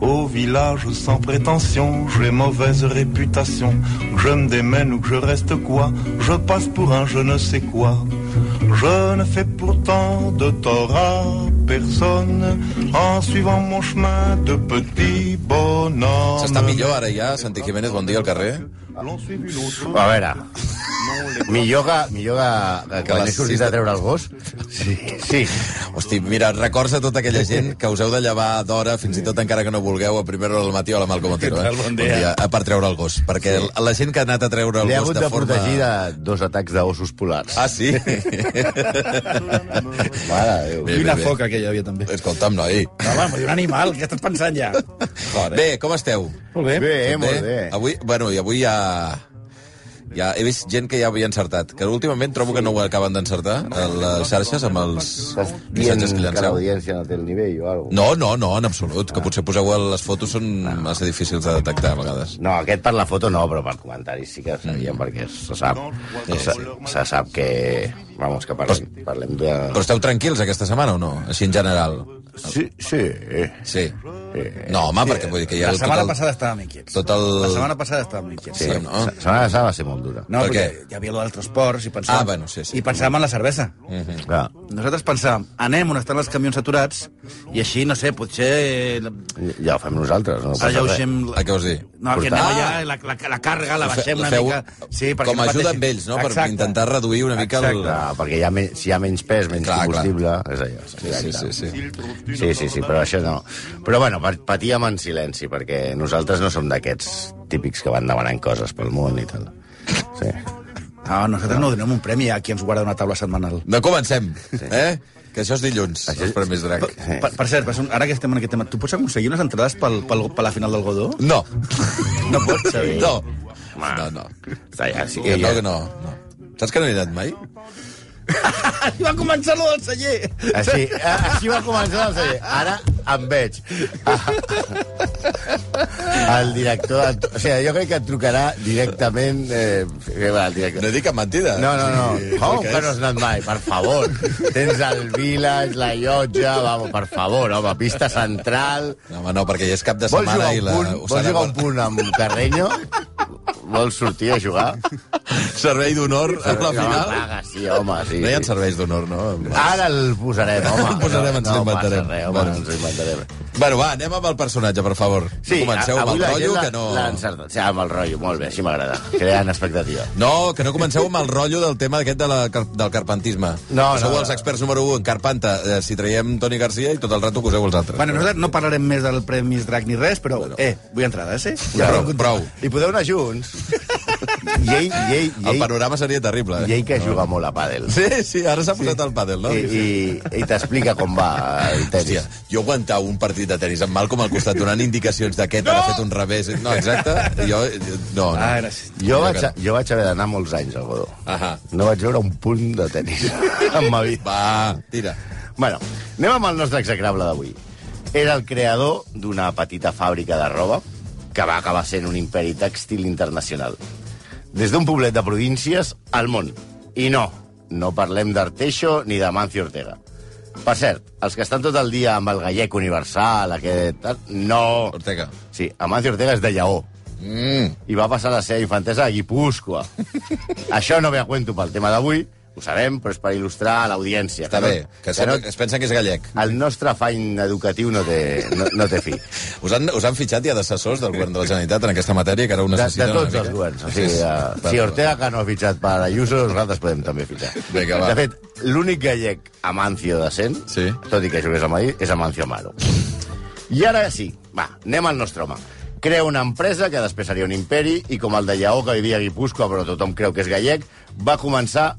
Au village sans prétention, j'ai mauvaise réputation. Que Je me démène ou que je reste quoi Je passe pour un je ne sais quoi. Je ne fais pourtant de tort à personne en suivant mon chemin de petit bonhomme. S'està millor ara ja, Santi Jiménez, bon dia al carrer. L'on suit une autre- A veure, Non, les- millor que, millor que, que Que quan les he sortit sis a de- treure el gos. Sí, sí. Hosti, mira, records a tota aquella gent que us heu de llevar d'hora, fins i tot encara que no vulgueu, a primera hora del matí o a la Malcom Otero. Què tal? Bon dia. Eh, Per treure el gos, perquè sí. la gent que ha anat a treure el L'he gos hagut de de forma... protegir de dos atacs d'ossos polars. Ah, sí? Mare de Déu. Bé, I una bé, bé. foca que hi havia, també. Escolta'm, noi. Home, vull dir, un animal, què estàs pensant ja? Fora. Bé, com esteu? Molt bé. Bé, molt bé. Avui, bueno, i avui ja... Ja he vist gent que ja havia encertat, que últimament trobo que no ho acaben d'encertar, a les xarxes, amb els Estàs dient missatges eh? que que llanceu. l'audiència no té el nivell o alguna No, no, no, en absolut, que potser poseu el- les fotos són massa difícils de detectar a vegades. No, aquest per la foto no, però per comentaris sí que sabíem, perquè se sap, se, se sap que... Vamos, que parlem, parlem de... Però esteu tranquils aquesta setmana o no? Així en general. Sí, sí. Sí. No, home, perquè vull dir que hi ha... Eh, La el- setmana tot el- passada estàvem inquiets. Tot el... La setmana passada estàvem inquiets. Sí, no? La setmana passada va ser molt dura. No, Per perquè què? hi havia lo dels transports i pensàvem, Ah, bueno, sí, sí. i pensàvem en la cervesa. Mhm. Clar. Nosaltres pensàvem, anem on estan els camions aturats i així, no sé, potser Ja ho fem nosaltres, no passa res. alleugem... Ah, què vols dir? No, que Portar- anem allà, la, la, la càrrega la baixem una Feu- mica... perquè com a ajuda pateixin. amb ells, no? Per Exacte. intentar reduir una mica el- Exacte. Clar, perquè hi ha, men- si hi ha menys pes, menys Clar, clar. combustible, és allò. Sí, sí, sí. Sí, sí, sí, però això no. Però bueno, pa- patíem en silenci, perquè nosaltres no som d'aquests típics que van demanant coses pel món i tal. Sí. No, nosaltres no donem un premi a qui ens guarda una taula setmanal. No comencem, eh? Que això és dilluns, els Premis Drac. Per, per cert, per- ara que estem en aquest tema, tu pots aconseguir unes entrades pel, pel, per la final del Godó? No. No pots, Xavi. No. No, no. Està allà, sí, Que no, ja. que no. no. Saps que no he anat mai? Va començar lo del celler. Així, a- així va començar el celler. Ara em veig. Ah. El director... et- O sigui, jo crec que et trucarà directament... Eh, que va, el director. No he dit cap mentida. No, no, no. Sí, Com el que que és. no has anat mai? Per favor. Tens el Village, la llotja... Vamos, per favor, home. Pista central... No, Home, no, perquè ja és cap de Vols setmana jugar, i un la... punt, ho vols serà jugar un quan- punt amb Carreño? Vols sortir a jugar? Servei d'honor a la No, final? paga, sí, home, sí. No hi ha serveis d'honor, no? Ah, Ara el posarem, home. El posarem, ens no, l'inventarem. No passa res, home, Bueno. bueno. ens l'inventarem. Bueno, va, anem amb el personatge, per favor. no comenceu a- amb avui el la rotllo, gent que no... l'ha encertat. Sí, amb el rotllo, molt bé, així m'agrada. Creant expectativa. No, que no comenceu amb el rotllo del tema aquest de la, car- del carpentisme. No, Que sou no, no. els experts número 1 en carpanta. Eh, si traiem Toni Garcia i tot el rato acuseu els altres. Bueno, nosaltres no parlarem més del Premi Drac ni res, però, eh, vull entrades, eh? ja, prou, prou. I podeu anar junts. I ell, i ell, i El ell, panorama seria terrible. eh? i ell que juga molt a pàdel. Sí, sí, ara s'ha posat el pàdel, no? I, i, i t'explica com va el Hòstia, tenis. jo aguantar un partit de tenis amb Malcom al costat donant indicacions d'aquest, no! ara ha fet un revés... No, exacte, jo... No, no. Ah, gràcies. Jo vaig, a- jo vaig haver d'anar molts anys al Godó. Ahà. No vaig veure un punt de tenis en ma vida. Va, tira. Bueno, anem amb el nostre execrable d'avui. Era el creador d'una petita fàbrica de roba que va acabar sent un imperi tèxtil internacional. Des d'un poblet de províncies al món. I no, no parlem d'Arteixo ni de Mancio Ortega. Per cert, els que estan tot el dia amb el gallec universal, aquest... tal, No. Ortega. Sí, Amancio Ortega és de Lleó Mm. i va passar la seva infantesa a Guipúscoa. Això no ve a cuento pel tema d'avui, ho sabem, però és per il·lustrar a l'audiència. Està no- bé, que, sembla, que es pensen que és gallec. el nostre afany educatiu no té, no, no té fi. Us han, us han fitxat ja d'assessors del govern de la Generalitat en aquesta matèria, que ara ho De, de necessiten tots una els mica. governs. O sigui, de, si Ortega que no ha fitxat per Ayuso, nosaltres podem també fitxar. Vinga, va. De fet, l'únic gallec Amancio decent, Sí. tot i que jugués a Madrid, és Amancio Amaro. I ara sí, va, anem al nostre home. Crea una empresa que després seria un imperi i com el de Lleó, que vivia a Guipúscoa, però tothom creu que és gallec, va començar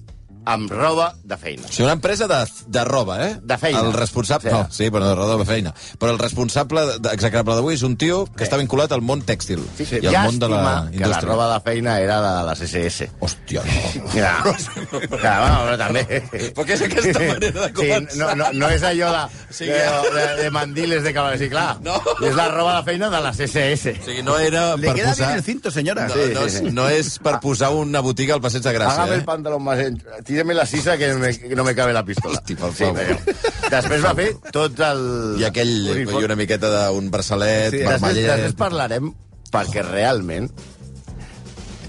amb roba de feina. O sigui, una empresa de, de roba, eh? De feina. El responsable... O sigui. No, sí, però de roba de feina. Però el responsable de- execrable d'avui és un tio que està vinculat al món tèxtil i al món de la Llàstima que la indústria. roba de feina era de la CCS. Hòstia, no. Ja, ja bueno, però també... Però què és aquesta manera de començar? Sí, no, no, no és allò de, Sí. de, de, de mandiles de cavalers, sí, clar. No. És la roba de feina de la CCS. O sigui, no era Le per queda posar... bien el cinto, senyora. No, Sí. no, és, no és per posar una botiga al passeig de Gràcia, Hágame eh? el pantalón más ancho. Tíreme la sisa que, me, que no me cabe la pistola. Hosti, per sí, favor. però- Després va fer tot el... I aquell, eh, uniforme. i una miqueta d'un braçalet, sí, Sí, després, després vermellet... parlarem perquè realment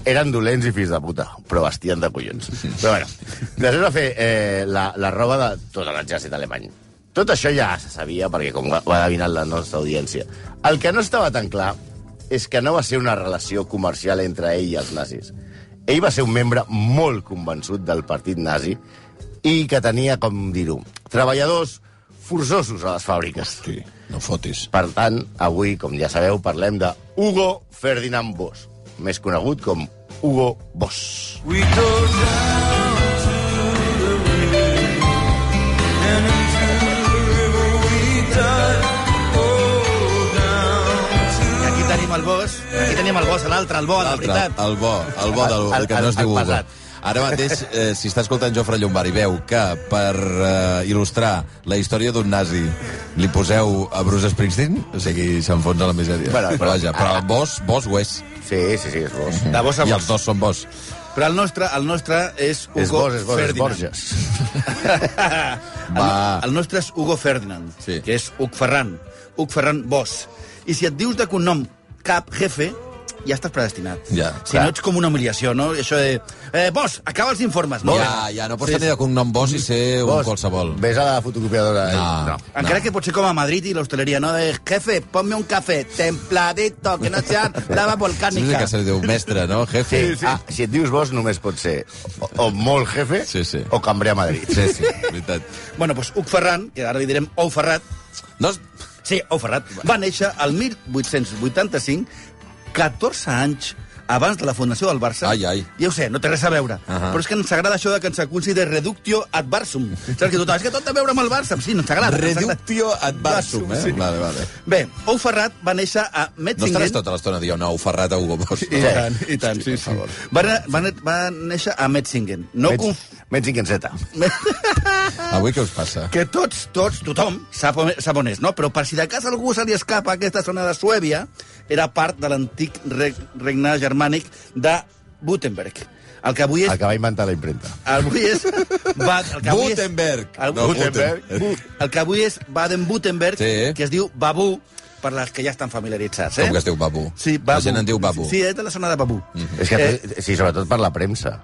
eren dolents i fills de puta, però vestien de collons. Però bueno, després va fer eh, la, la roba de tot l'exèrcit alemany. Tot això ja se sabia, perquè com ho ha adivinat la nostra audiència. El que no estava tan clar és que no va ser una relació comercial entre ell i els nazis. Ell va ser un membre molt convençut del partit nazi i que tenia, com dir-ho, treballadors forçosos a les fàbriques. Sí, no fotis. Per tant, avui, com ja sabeu, parlem de Hugo Ferdinand Bosch, més conegut com Hugo Bosch. I aquí tenim el bos, aquí tenim el bos, l'altre, el bo, la L'altre, veritat. el bo, el bo del, el, El- que no es diu el- el Hugo. pesat. Ara mateix, eh, si està escoltant Jofre Llombard i veu que per eh, il·lustrar la història d'un nazi li poseu a Bruce Springsteen, o sigui, s'enfonsa la misèria. Bueno, Però, però- vaja, però vos, vos ho és. Sí, sí, sí, és Bosch. De bos a I els bos. dos són vos. Però el nostre, el nostre és Hugo És Bosch, és Bosch, és Ferdinand. Borges. el, Va. el nostre és Hugo Ferdinand, Sí. que és Hugo Ferran. Hugo Ferran Bosch. I si et dius de cognom cap jefe, ja estàs predestinat. Ja, si clar. no ets com una humiliació, no? Això de... Eh, Bosch, acaba els informes. Molt Ja, bé. ja, no pots tenir de cognom vos i ser un Bosch, qualsevol. Ves a la fotocopiadora. eh? No. No. Encara que pot ser com a Madrid i l'hostaleria, no? De, jefe, ponme un cafè templadito, que no sea lava Sí, sí, volcànica. que se li diu mestre, no, jefe? Sí, sí. Ah, si et dius Bosch, només pot ser o, o molt jefe Sí, sí. o cambrer a Madrid. Sí, sí, veritat. Bueno, doncs Hugo Ferran, que ara li direm Ou Ferrat, No, és- sí, Ou Ferrat, va néixer el 1885, 14 anys abans de la fundació del Barça. Ai, ai. Ja ho sé, no té res a veure. Uh Ahà. -huh. Però és que ens agrada això de que ens acusi de reductio ad barsum. Saps que tot, és que tot té a veure amb el Barça. Sí, no ens agrada. ens agrada. reductio ad barsum, eh? Sí. Vale, vale. Bé, Ou Ferrat va néixer a No Metzingen... estaràs tota l'estona dient nou, Ferrat a Hugo Boss. I no? tant, i tant, sí, sí. Va, na- va, na- va néixer a Metzingen. No Menys- conf... Menys inquenseta. Avui què us passa? Que tots, tots, tothom sap on, sap on és, no? Però per si de cas algú se li escapa, aquesta zona de Suèbia era part de l'antic reg regne germànic de Württemberg. El que avui és... El que va inventar la impremta. Avui és... Va, el que avui és- Gutenberg. El, No, Gutenberg. el que avui és Baden-Württemberg, Sí. que es diu Babú, per les que ja estan familiaritzats, eh? Com que es diu Babu? Sí, Babu. La gent en diu Babu. Mm. Sí, és de la zona de Babú. És Eh. que, tu, sí, sobretot per la premsa.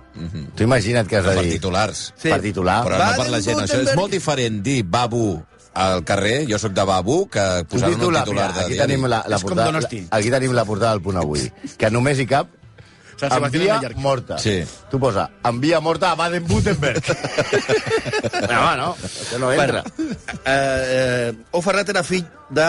Tu imagina't que has de Mhm. Per dir... titulars. Sí. Per titular. Però no per la gent. Això és Baden-Württemberg. molt diferent dir Babu al carrer, jo sóc de Babu, que Tu posar un titular, titular mira, de aquí diari. tenim la, la És com portada, Donosti. la- aquí tenim la portada del punt avui, que només hi cap Sant Sebastià de envia Mallorca. morta. Sí. Tu posa, envia morta a Baden-Württemberg. no, home, no, això no entra. Bueno, eh, eh, o Ferrat era fill de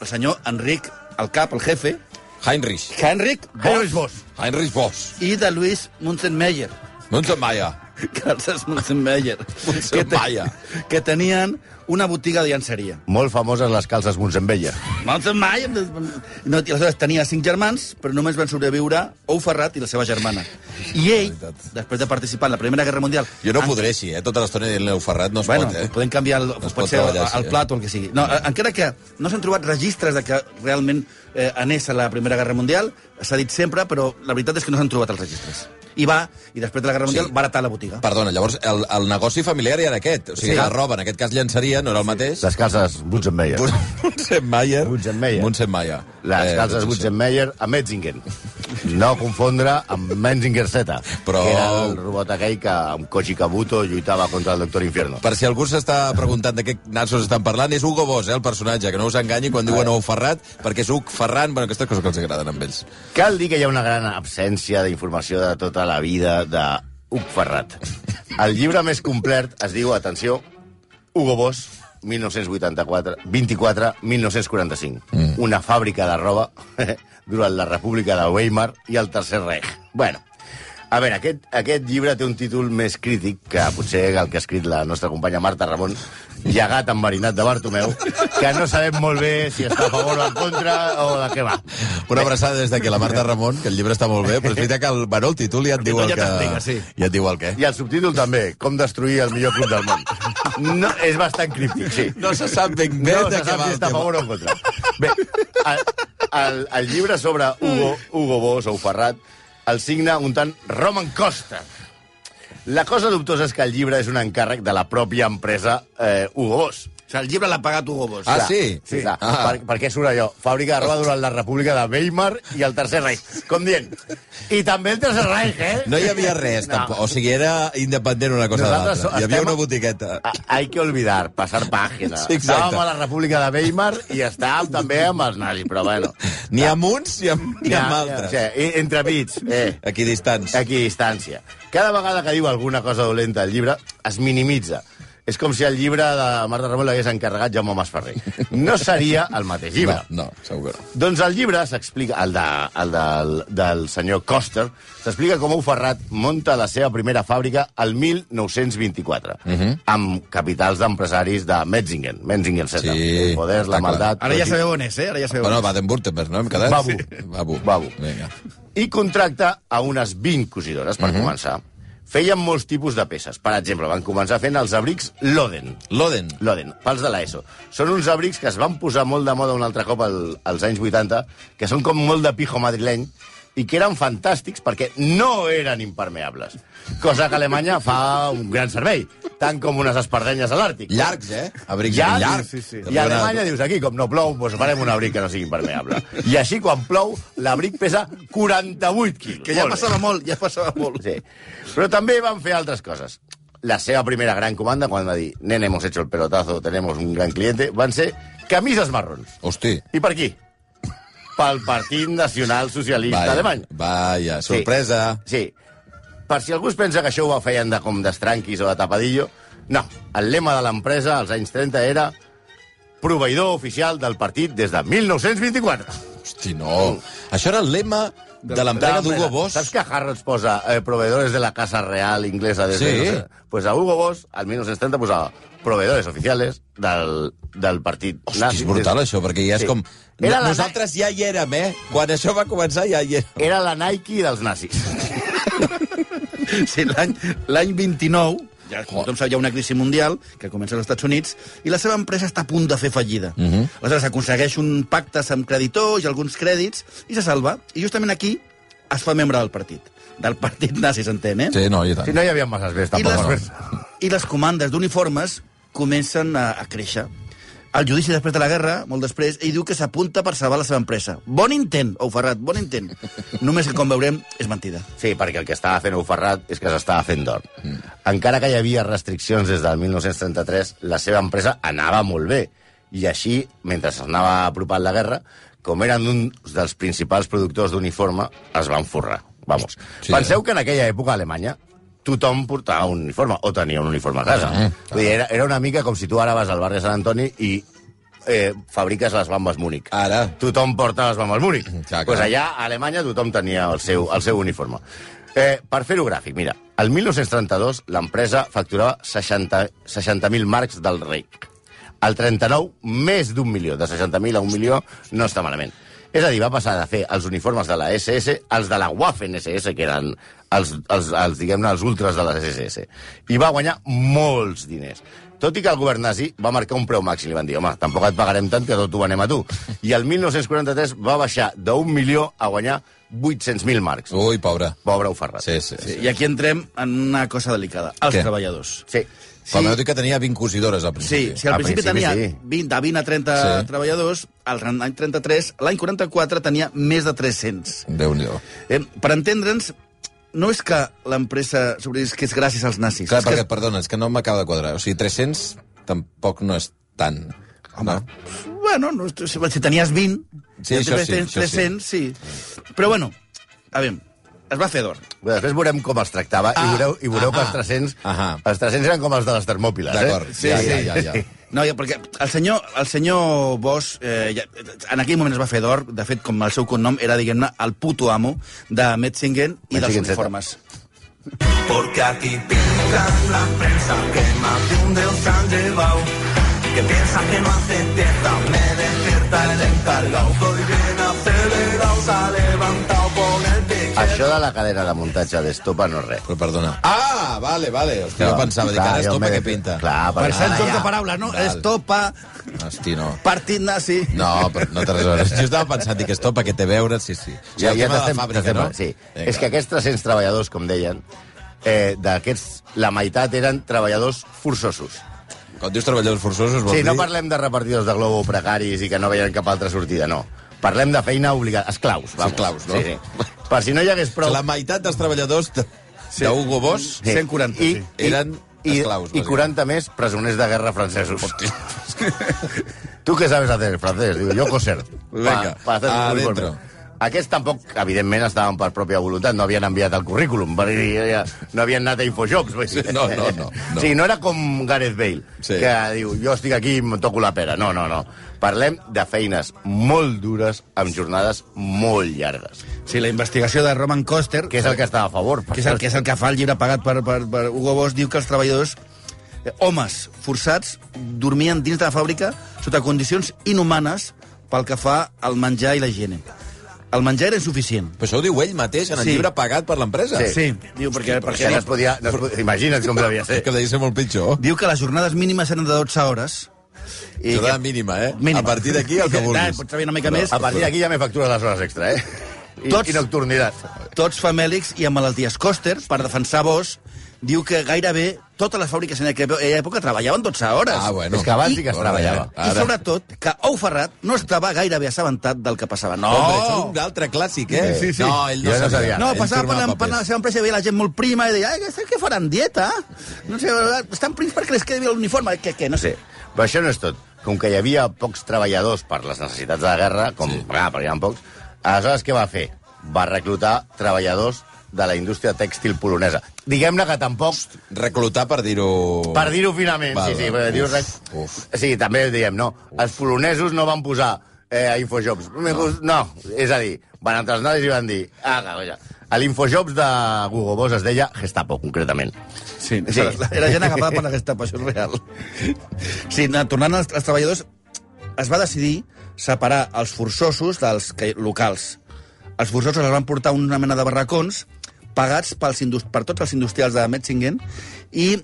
el senyor Enric, el cap, el jefe, Heinrich. Henrik Bosch, Bosch. Heinrich Bosch. i de Luis Munzenmeyer, Munzenmaier. Carles Munzenmeyer, que, Munzenmayer. que tenien una botiga de llanceria. Molt famoses les calces Montsembella. Munzenmeyer... No, i aleshores tenia cinc germans, però només van sobreviure Ou Ferrat i la seva germana. I ell, després de participar en la Primera Guerra Mundial... Jo no en- podré així, eh? Tota l'estona dient Leo Ferrat no es Ah. Bueno, pot, eh? podem canviar el, es pot, pot ser el, treballar així, el eh? plat o el que sigui. No, eh, encara que no s'han trobat registres de que realment eh, anés a la Primera Guerra Mundial, s'ha dit sempre, però la veritat és que no s'han trobat els registres. I va, i després de la Guerra Mundial, Sí. sí. va heretar la botiga. Perdona, llavors, el, el negoci familiar era aquest. O sigui, Sí. la roba, en aquest cas, llançaria, no era el mateix. Les calces Montsembella. Munzenmaier. Munzenmayer. Munzenmaier. Les Eh, calces doncs això. Wutzenmeyer a Metzingen. No confondre amb Menzinger Z, Però- que era el robot aquell que amb Koji Kabuto lluitava contra el Doctor Infierno. Per si algú s'està preguntant de què nassos estan parlant, és Hugo Boss, eh, el personatge, que no us enganyi quan diuen Hugo Ferrat, perquè és Hugo Ferran, bueno, aquestes coses que els agraden a ells. Cal dir que hi ha una gran absència d'informació de tota la vida de Huc Ferrat. El llibre més complet es diu, atenció, Hugo Boss, 1924-24-1945. Mm. Una fàbrica de roba durant la República de Weimar i el Tercer Reich. Bueno, A veure, aquest, aquest llibre té un títol més crític que potser el que ha escrit la nostra companya Marta Ramon, llegat enverinat de Bartomeu, que no sabem molt bé si està a favor o en contra o de què va. Una abraçada des d'aquí a la Marta Ramon, que el llibre està molt bé, però és veritat que el, bueno, el títol ja et diu títol el que... ja t'explica, sí. Ja et diu el què. I el subtítol també, com destruir el millor club del món. No, és bastant críptic, sí. No se sap ben bé no de què se sap va si el està a tema. favor o en contra. Bé, el, el, el llibre sobre Hugo, Hugo Boss o Ferrat el signa un tant Roman Costa. La cosa dubtosa és que el llibre és un encàrrec de la pròpia empresa eh, Hugo Boss. O sigui, el llibre l'ha pagat Hugo Boss. Ah, Clar, sí? sí Sí. clar, Ah. Per, perquè surt allò, fàbrica de roba durant la República de Weimar i el Tercer Reich. Com dient, i també el Tercer Reich, eh? No hi havia res, No. tampoc. O sigui, era independent una cosa de Nosaltres l'altra. Hi havia estem- una botiqueta. Ah, Hay que olvidar, passar pàgina. Sí, exacte. Estàvem a la República de Weimar i estàvem també amb els nazis, però bueno. Ni amb uns ni amb, ni amb Sí, altres. i- entre mig, eh, Aquí distants. aquí distància. Cada vegada que diu alguna cosa dolenta al llibre, es minimitza. És com si el llibre de Marta Ramon l'hagués encarregat Jaume Masferrer. No seria el mateix llibre. No, no, segur que no. Doncs el llibre s'explica, el, de, el del, del senyor Coster, s'explica com un Ferrat monta la seva primera fàbrica al 1924, Mhm. amb capitals d'empresaris de Metzingen, Metzingen Center, Sí, el poder, està la clar. maldat... Ara ja tot i- sabeu on és, eh? Ara ja sabeu Bueno, on és. Baden-Württemberg, no? Hem quedat? Babu. Sí. Babu. Babu. Vinga. i contracta a unes 20 cosidores, per Mhm. començar. Feien molts tipus de peces. Per exemple, van començar fent els abrics Loden. Loden. Loden, pels de l'ESO. Són uns abrics que es van posar molt de moda un altre cop al, als anys 80, que són com molt de pijo madrileny, i que eren fantàstics perquè no eren impermeables. Cosa que Alemanya fa un gran servei, tant com unes espardenyes a l'Àrtic. Llargs, eh? Abrics Ja, llargs. sí, sí. I a Alemanya dius, aquí, com no plou, doncs farem un abric que no sigui impermeable. I així, quan plou, l'abric pesa 48 quilos. Que ja Molt bé. passava molt, ja passava molt. Sí. Però també van fer altres coses. La seva primera gran comanda, quan va dir, nen, hemos hecho el pelotazo, tenemos un gran cliente, van ser camises marrons. Hosti. I per qui? Pel Partit Nacional Socialista Vaja, Alemany. vaja, sorpresa. Sí. Per si algú es pensa que això ho feien de com d'estranquis o de tapadillo, no. El lema de l'empresa als anys 30 era proveïdor oficial del partit des de 1924. Hosti, no. Això era el lema de l'empresa d'Hugo Boss. Saps que Harrods posa eh, proveedores de la Casa Real inglesa des de... Sí. no sé? Pues a Hugo Boss, al 1930, posava proveedores oficiales del, del partit Hosti, és brutal, Des- això, perquè ja és Sí. com... Era la- Nosaltres ja hi érem, eh? Quan això va començar ja hi érem. Era la Nike dels nazis. Sí, l'any l'any 29, ja, com tothom sap, hi ha una crisi mundial que comença als Estats Units i la seva empresa està a punt de fer fallida. Uh -huh. Aleshores, aconsegueix un pacte amb creditors i alguns crèdits i se salva. I justament aquí es fa membre del partit. Del partit nazi, s'entén, eh? Sí, no, i Si tant. no hi havia masses més, I tampoc. les, no. I les comandes d'uniformes comencen a, a créixer. El judici després de la guerra, molt després, ell diu que s'apunta per salvar la seva empresa. Bon intent, Ou Ferrat, bon intent. Només que, com veurem, és mentida. Sí, perquè el que estava fent Uferrat és que s'estava fent d'or. Encara que hi havia restriccions des del 1933, la seva empresa anava molt bé. I així, mentre s'anava apropant la guerra, com eren un dels principals productors d'uniforme, es van forrar. Vamos. Sí, Sí, Penseu que en aquella època a Alemanya tothom portava un uniforme, o tenia un uniforme a casa. Ah, Vull dir, era, era una mica com si tu ara vas al barri de Sant Antoni i eh, fabriques les bambes Múnich Ara. tothom porta les bambes Múnich. Mm, clar. Doncs pues allà, a Alemanya, tothom tenia el seu, el seu uniforme. Eh, per fer-ho gràfic, mira, el 1932 l'empresa facturava 60 60.000 marcs del Reich. El 39, més d'un milió. De 60.000 a un milió no està malament. És a dir, va passar de fer els uniformes de la SS als de la Waffen-SS, que eren els, els, els diguem-ne, els ultras de la SS. I va guanyar molts diners. Tot i que el govern nazi va marcar un preu màxim, li van dir, home, tampoc et pagarem tant que tot ho anem a tu. I el 1943 va baixar d'un milió a guanyar 800.000 marcs. Ui, pobre. Pobre Uferrat. Sí, sí. Sí, sí. I aquí entrem en una cosa delicada, els Què? treballadors. sí. sí. Però m'heu dit que tenia 20 cosidores al Sí, principi. si al Al principi, principi, tenia sí. 20, de 20 a 30 Sí. sí. treballadors, al ran- l'any 33, l'any 44 tenia més de 300. Déu-n'hi-do. Eh, per entendre'ns, no és que l'empresa sobrevisqués gràcies als nazis. Clar, és perquè, que... perdona, és que no m'acaba de quadrar. O sigui, 300 tampoc no és tant. Home, eh? no? Bueno, no, si si tenies 20, Sí, ja això sí, tens això 300, sí. Però bueno, a veure, es va fer d'or. Bé, Després veurem com els tractava ah, i veureu, i veureu ah, que els 300, ah, Ah. els 300 eren com els de les Termòpiles. D'acord, Eh? sí, ja, ja, ja, ja. No, ja, perquè el senyor, el senyor Bosch, eh, ja, en aquell moment es va fer d'or, de fet, com el seu cognom era, diguem-ne, el puto amo de Metzingen i dels Metzingen Z. uniformes. Porque aquí pintan la prensa que más de un deus han llevado. Que piensa que no hace fiesta, me despierta el encargado. Hoy bien acelerado, se ha levantado con el pique. Això de la cadena de muntatge d'estopa no és res. Però perdona. Ah, vale, vale. Hòstia, jo Clar, pensava, dic, clar, ara jo estopa m'he de- que pinta. Clar, Per perquè- Sant joc Ah, de ja. paraula, no? Val. Estopa, Hosti, no. partit nazi... No, però no té res a veure. Jo estava pensant, dic, estopa, que té a veure, sí, sí. O sigui, Ja, el ja tema de t'estem... la fàbrica, t'estem- no? Sí. Vinga. És que aquests 300 treballadors, com deien, eh, d'aquests, la meitat eren treballadors forçosos. Quan dius treballadors forçosos, vols Sí, no dir... parlem de repartidors de globo precaris i que no veien cap altra sortida, no. Parlem de feina obligada. Esclaus, vamos. esclaus, no? Sí, sí. Per si no hi hagués prou... La meitat dels treballadors de, Sí. de Hugo Boss... Sí. 140, sí. Eren i, esclaus, I bàsicament. 40 més presoners de guerra francesos. tu què sabes hacer, francès? Digo, yo coser. Vinga, pa hacer un currículum. adentro. Aquests tampoc, evidentment, estaven per pròpia voluntat, no havien enviat el currículum, per dir, ja, no havien anat a Infojobs. vull dir. No, no, no, no. O sigui, no era com Gareth Bale, Sí. sí. que diu, jo estic aquí i em toco la pera. No, no, no. Parlem de feines molt dures, amb jornades molt llargues, Sí, la investigació de Roman Koster... que és el que estava a favor. per que és el cert. que, és el que fa el llibre pagat per, per, per Hugo Boss, diu que els treballadors, eh, homes forçats, dormien dins de la fàbrica sota condicions inhumanes pel que fa al menjar i la higiene. El menjar era insuficient. Però això ho diu ell mateix en el Sí. llibre pagat per l'empresa. Sí. diu, perquè, Perquè no es podia... No es podia imagina't com devia ser. Que devia ser molt pitjor. diu que les jornades mínimes eren de 12 hores. I Jornada mínima, eh? A partir d'aquí, el que vulguis. Potser havia una mica més. A partir d'aquí ja me factures les hores extra, eh? I, Tots- i nocturnitat. tots famèlics i amb malalties. Coster, per defensar Bosch, diu que gairebé totes les fàbriques en aquella època treballaven 12 hores. Ah, bueno. És que abans sí que es Bona treballava. idea. I Ara. sobretot que Ou Ferrat no estava gairebé assabentat del que passava. No! Hombre, això és un altre clàssic, eh? Sí, sí. No, ell no, Jo no sabia. sabia. No, Ell passava per, firmava la, per la papers. seva empresa i veia la gent molt prima i deia, "Ai, què faran, dieta? No sé, eh, estan prims perquè les quedi bé l'uniforme, que, que, no Sí. sé. Però això no és tot. Com que hi havia pocs treballadors per les necessitats de la guerra, com sí. ah, però hi ha pocs, aleshores què va fer? Va reclutar treballadors de la indústria tèxtil polonesa. Diguem-ne que tampoc, Reclutar per dir-ho... per dir-ho finament, Val, sí, sí, val. perquè dius Uf, res... uf. Sí, també ho diem, no. Els polonesos no van posar eh, a Infojobs. No. no, és a dir, van entrar els nazis i van dir... Ah, ja. A l'Infojobs de Hugo Boss es deia Gestapo, concretament. Sí, Sí. Era, era gent agapada per la Gestapo, això és real. Sí, na- tornant als, als treballadors, es va decidir separar els forçosos dels que, locals. Els forçosos els van portar a una mena de barracons pagats pels indus- per tots els industrials de Metzingen i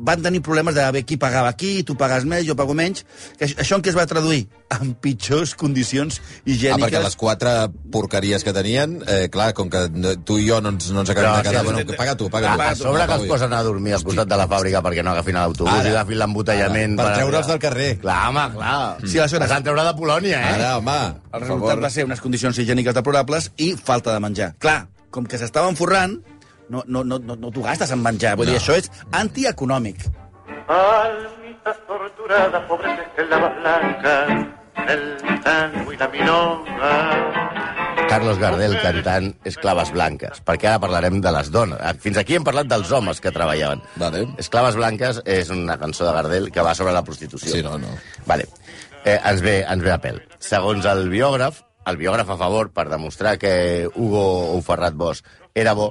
van tenir problemes de bé, qui pagava aquí, tu pagues més, jo pago menys... Que això, això en què es va traduir? En pitjors condicions Ah, higièniques. perquè les quatre porqueries que tenien, eh, clar, com que no- tu i jo no ens, no ens acabem Però, de quedar... sí, Bueno, sí, que paga tu, paga A, tu. a sobre que Pago els jo. posen a dormir al costat de la fàbrica perquè no agafin l'autobús Ara. i agafin l'embotellament... Ara, per treure'ls del carrer. Clar, home, clar. Sí, aleshores- Els han treure de Polònia, eh? Ara, home, El per resultat favor. va ser unes condicions higièniques deplorables i falta de menjar. Clar, com que s'estaven forrant, no, no, no, no, no t'ho gastes en menjar. Vull no. dir, això és antieconòmic. Almita torturada, pobreza esclava blanca, el tango y la milonga. Carlos Gardel cantant Esclaves Blanques, perquè ara parlarem de les dones. Ah, Fins aquí hem parlat dels homes que treballaven. Vale. Esclaves Blanques és una cançó de Gardel que va sobre la prostitució. Sí, no, no. Vale. Eh, ens, ve, ens ve a pèl. Segons el biògraf, el biògraf a favor, per demostrar que Hugo o Ferrat Bosch era bo,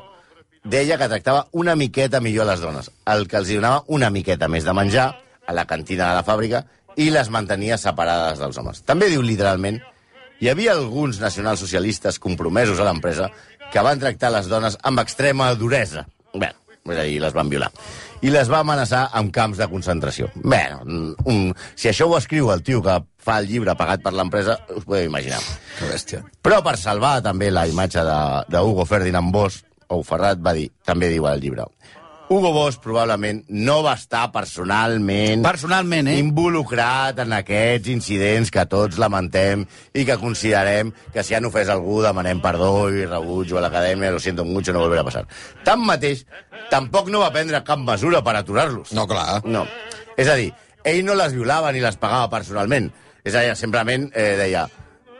deia que tractava una miqueta millor a les dones, el que els hi donava una miqueta més de menjar a la cantina de la fàbrica i les mantenia separades dels homes. També diu literalment hi havia alguns nacionalsocialistes compromesos a l'empresa que van tractar les dones amb extrema duresa. Bé, és a dir, les van violar. I les va amenaçar amb camps de concentració. Bé, un, un, si això ho escriu el tio que fa el llibre pagat per l'empresa, us podeu imaginar. Que bèstia. Però per salvar també la imatge de, de Hugo Ferdinand Bosch, o Ferrat va dir, també diu al llibre, Hugo Bosch probablement no va estar personalment Personalment, eh? involucrat en aquests incidents que tots lamentem i que considerem que si han ofès algú demanem perdó i rebuig a l'acadèmia, lo siento mucho, no volverà a passar. Tanmateix, tampoc no va prendre cap mesura per aturar-los. No, clar. No. És a dir, ell no les violava ni les pagava personalment. És a dir, simplement eh, deia...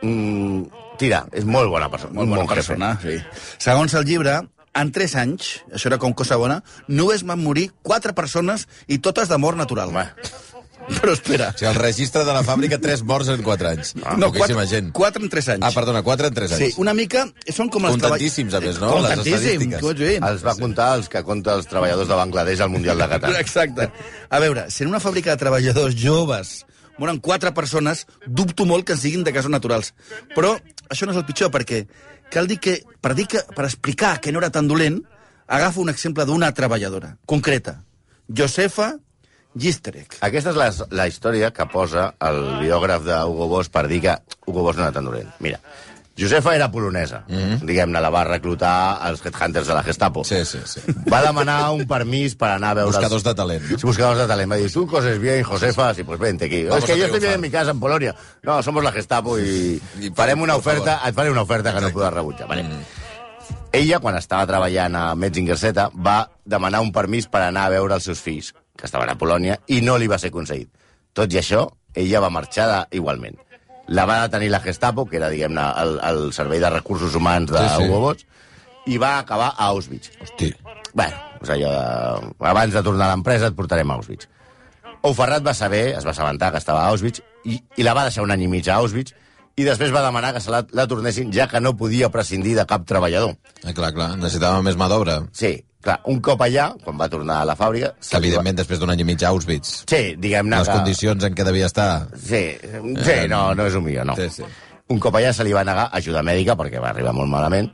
Mm, tira, és molt bona persona. Molt bona bon jefe." persona, sí. Segons el llibre, en 3 anys, això era com cosa bona, només van morir 4 persones i totes de mort natural. Home, Però espera. O sigui, el registre de la fàbrica, 3 morts en 4 anys. Ah. No, Ah, Poquíssima gent. 4 en 3 anys. Ah, perdona, 4 en 3 Sí, anys. una mica... Són com els Contentíssims, a més, no? Les Contentíssim, estadístiques. com ets dient. Els va comptar els que compta els treballadors de Bangladesh al Mundial de Qatar. Exacte. A veure, si en una fàbrica de treballadors joves moren quatre persones, dubto molt que en siguin de casos naturals. Però això no és el pitjor, perquè cal dir que, per, dir que, per explicar que no era tan dolent, agafo un exemple d'una treballadora concreta. Josefa Gisterek. Aquesta és la, la història que posa el biògraf de Hugo Boss per dir que Hugo Boss no era tan dolent. Mira, Josefa era polonesa. Mm -hmm. Diguem-ne, la va reclutar als headhunters de la Gestapo. Mhm. Sí, sí, sí. Va demanar un permís per anar a veure... Buscadors els... de talent, no? Sí, buscadors de talent. Va dir, tu coses bien, Josefa, sí, pues vente aquí. Vamos es que a yo estoy triunfar. bien en mi casa, en Polonia. No, somos la Gestapo i, I I farem una per favor. Mm. oferta, et faré una oferta que no podràs rebutjar. Vale. Ella, quan estava treballant a Metzinger Z, va demanar un permís per anar a veure els seus fills, que estaven a Polònia, i no li va ser aconseguit. Tot i això, ella va marxar de, igualment. La va detenir la Gestapo, que era, diguem-ne, el, el Servei de Recursos Humans de Sí, sí. sí, i va acabar a Auschwitz. Hosti. Bé, és allò de... Abans de tornar a l'empresa et portarem a Auschwitz. Ouferrat va saber, es va assabentar que estava a Auschwitz, i, i la va deixar un any i mig a Auschwitz, i després va demanar que se la, la tornessin, ja que no podia prescindir de cap treballador. Ah, clar, clar, necessitàvem més mà d'obra. Sí, clar, un cop allà, quan va tornar a la fàbrica... Que, evidentment, després d'un any i mig a Auschwitz, Sí, diguem-ne les que... condicions en què devia estar... Sí, sí, no, no és un millor, no. Eh, Sí, sí. Un cop allà se li va negar ajuda mèdica, perquè va arribar molt malament,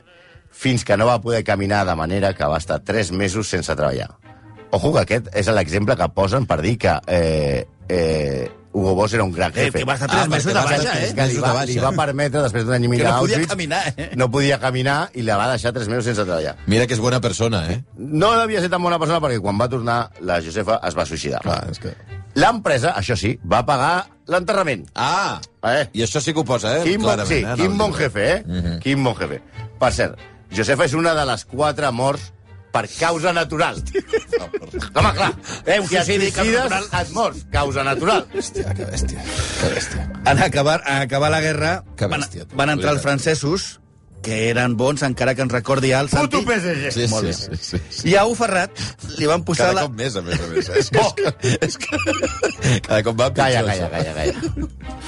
fins que no va poder caminar de manera que va estar tres mesos sense treballar. Ojo, que aquest és l'exemple que posen per dir que eh, eh, Hugo Boss era un gran Eh, jefe. que va estar tres Ah, mesos de perquè va baixa, estar eh? tres Que li mesos va, de baixa. li va permetre, després d'un any i mig Que no a podia Auschwitz, caminar, eh? No podia caminar i la va deixar tres mesos sense treballar. Mira que és bona persona, eh? No devia ser tan bona persona perquè quan va tornar la Josefa es va suïcidar. Clar, és que... L'empresa, això sí, va pagar l'enterrament. Ah! Eh? I això sí que ho posa, eh? Quin bon, Clarament, sí, eh, en el quin bon llibre. jefe, eh? Mhm. Quin bon jefe. Per cert, Josefa és una de les quatre morts per causa natural. Home, clar, eh, si et suïcidi, causa suïcides, natural. et mors. Causa natural. Hòstia, que bèstia. Que bèstia. En acabar, en acabar la guerra Que van, bèstia, tu. van entrar els Cuida't. francesos, que eren bons, encara que ens recordi el Santi. Puto PSG. Sí, Molt sí, bé. sí, sí, sí. I a Ferrat li van posar Cada la... cop més, a més a més. És que, és que, és que... Cada cop va pitjor. Calla, això. calla, calla, calla.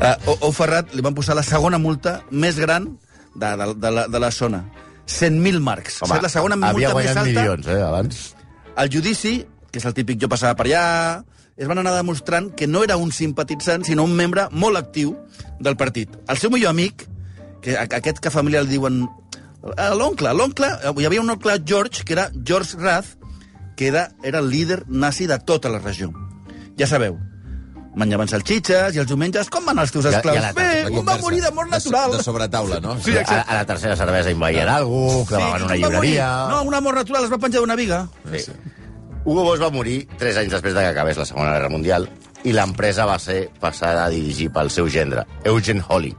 Uh, o, o Ferrat li van posar la segona multa més gran de, de, de, la, de la zona. 100.000 marcs. Home, la segona havia multa més guanyat alta. milions, eh, abans. El judici, que és el típic jo passava per allà, es van anar demostrant que no era un simpatitzant, sinó un membre molt actiu del partit. El seu millor amic, que a- aquest que a família li diuen... eh, L'oncle, l'oncle... Hi havia un oncle George, que era George Rath, que era, era el líder nazi de tota la regió. Ja sabeu, menjaven salxitxes i els diumenges... Com van els teus Ja- ja esclaus? la- La Bé, un va conversa. morir de mort De so- natural. De sobretaula, no? Sí, a, a la tercera cervesa invaïen algú, clavaven una un va morir. llibreria... No, una mort natural es va penjar d'una viga. Sí. Hugo Boss va morir 3 anys després de que acabés la Segona Guerra Mundial i l'empresa va ser passada a dirigir pel seu gendre, Eugen Holly,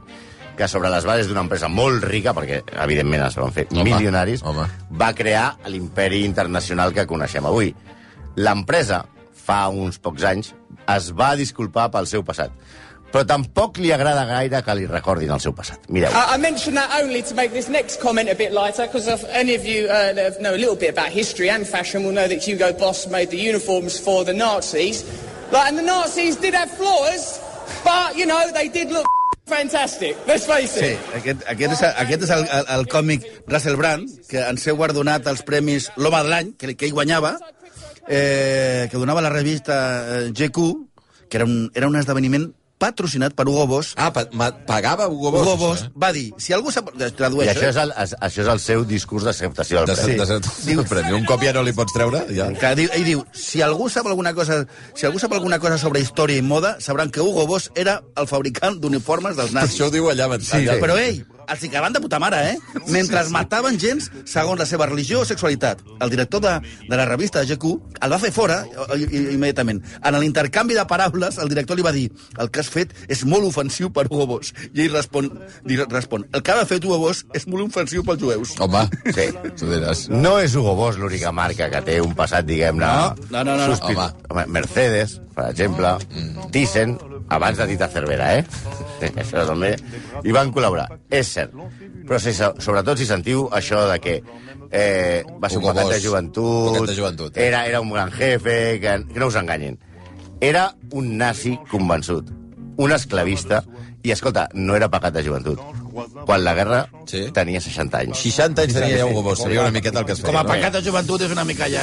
que sobre les bases d'una empresa molt rica, perquè evidentment es van fer Home, home, milionaris, home. va crear l'imperi internacional que coneixem avui. L'empresa, fa uns pocs anys, es va disculpar pel seu passat, però tampoc li agrada gaire que li recordin el seu passat. Mireu. Ah, I, I mention that only to make this next comment a bit lighter, because if any of you uh, that know a little bit about history and fashion will know that Hugo Boss made the uniforms for the Nazis. Like, and the Nazis did have flaws, but, you know, they did look fantastic. Let's face Sí, it. aquest, aquest és, aquest és el, el, el còmic Russell Brand, que ens heu guardonat els premis l'home de l'any, que, que ell guanyava, eh, que donava la revista eh, GQ, que era un, era un esdeveniment patrocinat per Hugo Boss. Ah, pa ma- pagava Hugo Boss? això, Hugo Boss eh? va dir, si algú sap... eh? I Tradueixo, això això és, el, es- això és el seu discurs d'acceptació del De, premi. de, de, de, de premi. Un cop ja no li pots treure? Ja. Que diu, ell diu, si algú sap alguna cosa si algú sap alguna cosa sobre història i moda, sabran que Hugo Boss era el fabricant d'uniformes dels nazis. Això ho diu allà. Sí, allà. Però ell, els hi cagaven de puta mare, eh? Mentre es mataven gens segons la seva religió o sexualitat. El director de, de la revista de GQ el va fer fora eh, i, i, immediatament. En l'intercanvi de paraules, el director li va dir el que has fet és molt ofensiu per Hugo Boss. I ell respon, li respon el que ha fet Hugo Boss és molt ofensiu pels jueus. Home, Sí. tu diràs. No és Hugo Boss l'única marca que té un passat, diguem-ne... No, no, no, no. sospit- Home. Home, Mercedes, per exemple, Thyssen, abans de Tita Cervera, eh? això també. I van col·laborar, és cert. Però si, sobretot si sentiu això de que eh, va ser un Hugo pecat de Boss, joventut, pecat de joventut, eh? era, era un gran jefe, que, que no us enganyin. Era un nazi convençut, un esclavista, i, escolta, no era pecat de joventut. Quan la guerra sí. tenia 60 anys. 60 anys tenia ja Hugo Boss, sabia una miqueta el que es feia. Com a no? pecat de joventut és una mica ja...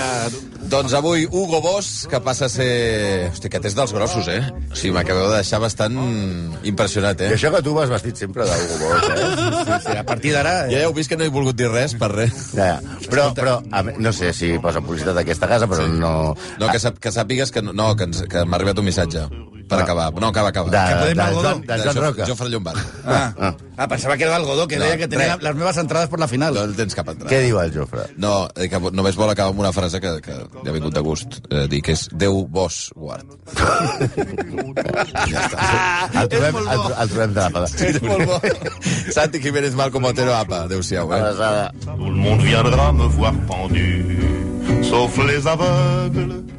Doncs avui Hugo Boss, que passa a ser... Hosti, aquest és dels grossos, eh? Sí, m'acabeu de deixar bastant impressionat, I eh? això que tu vas vestit sempre d'Hugo Boss, eh? Sí, sí, a partir d'ara... eh, Ja heu vist que no he volgut dir res per res. Ja, ja. però, però a, me- no sé si posa publicitat aquesta casa, però sí. no... No, que, sap, que sàpigues que, no- no, que, ens, que m'ha arribat un missatge per acabar. No, acaba, acaba. Ah. De, de, podem de, algodó? Joan, de Joan Jo- Roca. Jofre Llombard. Ah, ah pensava que era l'algodó, que No, deia que tenia res. les meves entrades per la final. No el tens cap entrada. Què diu el Jofre? No, eh, que només vol acabar amb una frase que, que li ha vingut de gust eh, dir, que és Déu vos guard. El trobem, el, tro- el trobem de la És pala. molt bo. Santi Jiménez Malcom Otero, apa, adéu-siau, eh? Aleshores, Tout le monde viendra me voir pendu, sauf les aveugles